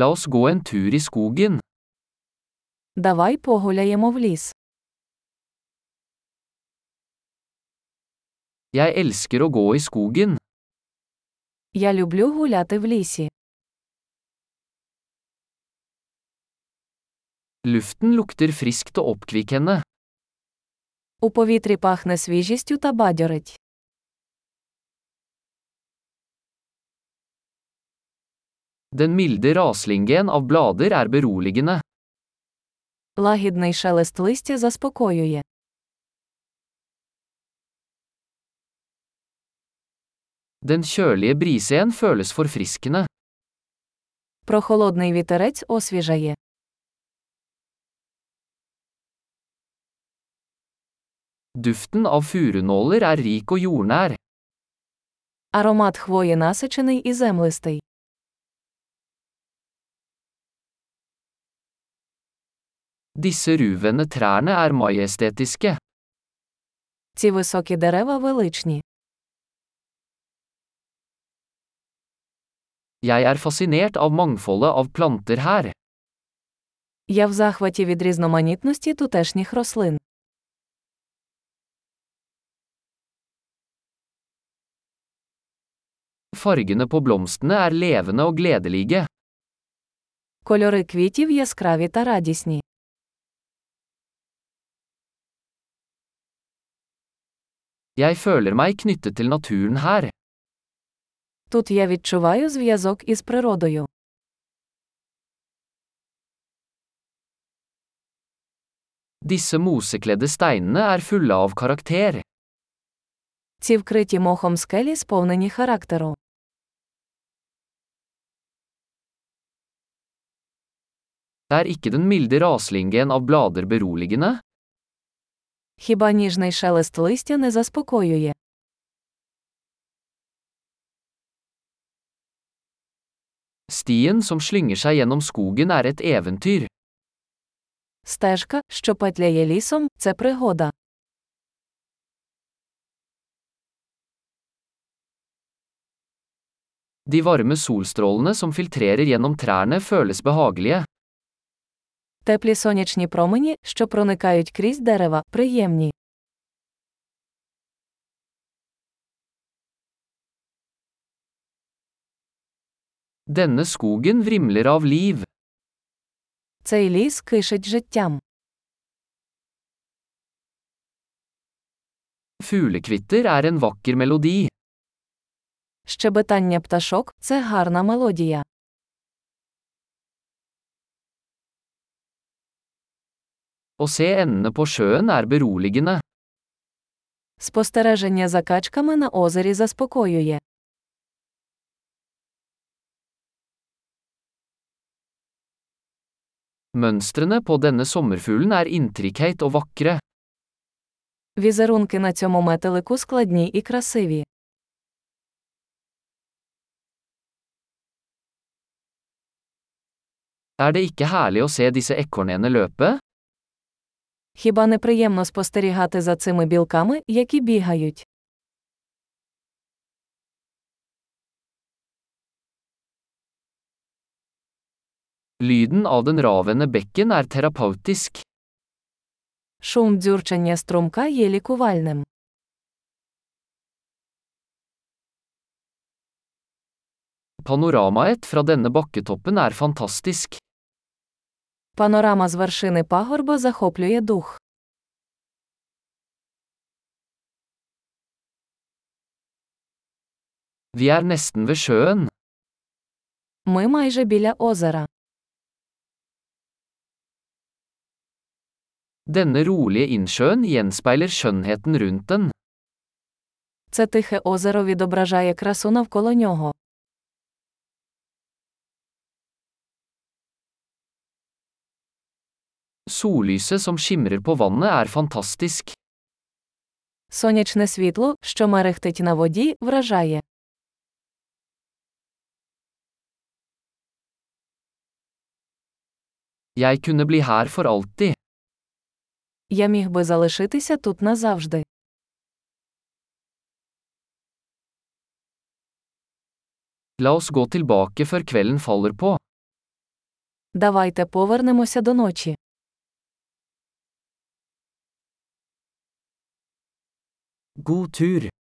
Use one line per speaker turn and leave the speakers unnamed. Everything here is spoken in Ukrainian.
La oss gå en tur i skogen.
Давай погуляємо в ліс.
Jeg elsker å gå i skogen.
Я люблю гуляти в лісі.
Luften lukter friskt og oppkvikkende.
У повітрі пахне свіжістю та бадьорить.
Den milde raslingen av blader er beroligende.
Лагідний шелест листя заспокоює.
Den kjølige brisen føles forfriskende.
Прохолодний вітерець освіжає.
Duften av furunåler er rik og jordnær.
Аромат хвої насичений і землистий.
Disse ruvende trærne er majestetiske.
Ці високі дерева величні.
Jeg er fascinert av mangfoldet av planter her.
Я в захваті від різноманітності тутешніх рослин.
Fargene på blomstene er levende og gledelige.
Кольори квітів яскраві та радісні.
Jeg føler meg knyttet til naturen her.
Тут я відчуваю зв'язок із природою.
Disse mosekledde steinene er fulle av karakter.
Ці вкриті мохом скелі сповнені характеру.
Er ikke den milde raslingen av blader beroligende?
Хіба ніжний шелест листя не заспокоює?
Stien som slynger seg gjennom skogen er et eventyr.
Стежка, що петляє лісом, це пригода.
De varme solstrålene som filtrerer gjennom trærne føles behagelige.
Теплі сонячні промені, що проникають крізь дерева, приємні.
Denne skogen vrimler av liv.
Цей ліс кишить життям.
Fuglekvitter er en vakker melodi.
Щебетання пташок це гарна мелодія.
Å se endene på sjøen er beroligende.
Спостереження за качками на озері заспокоює.
Mønstrene på denne sommerfuglen er intrikate og vakre.
Візерунки на цьому метелику складні і красиві.
Er det ikke herlig å se disse ekornene løpe?
Хіба не приємно спостерігати за цими білками, які бігають?
Lyden av den ravende bekken er terapeutisk.
Шум дзюрчання струмка є лікувальним.
Panoramaet fra denne bakketoppen er fantastisk.
Панорама з вершини пагорба захоплює дух.
Vi er nesten ved sjøen.
Ми майже біля озера.
Denne rolige innsjøen gjenspeiler skjønnheten rundt den.
Це тихе озеро відображає красу навколо нього.
Sollyset som skimrer på vannet er fantastisk.
Сонячне світло, що мерехтить на воді, вражає.
Jeg kunne bli her for alltid.
Я міг би залишитися тут назавжди.
La oss gå tilbake før kvelden faller på.
Давайте повернемося до ночі.
God tur.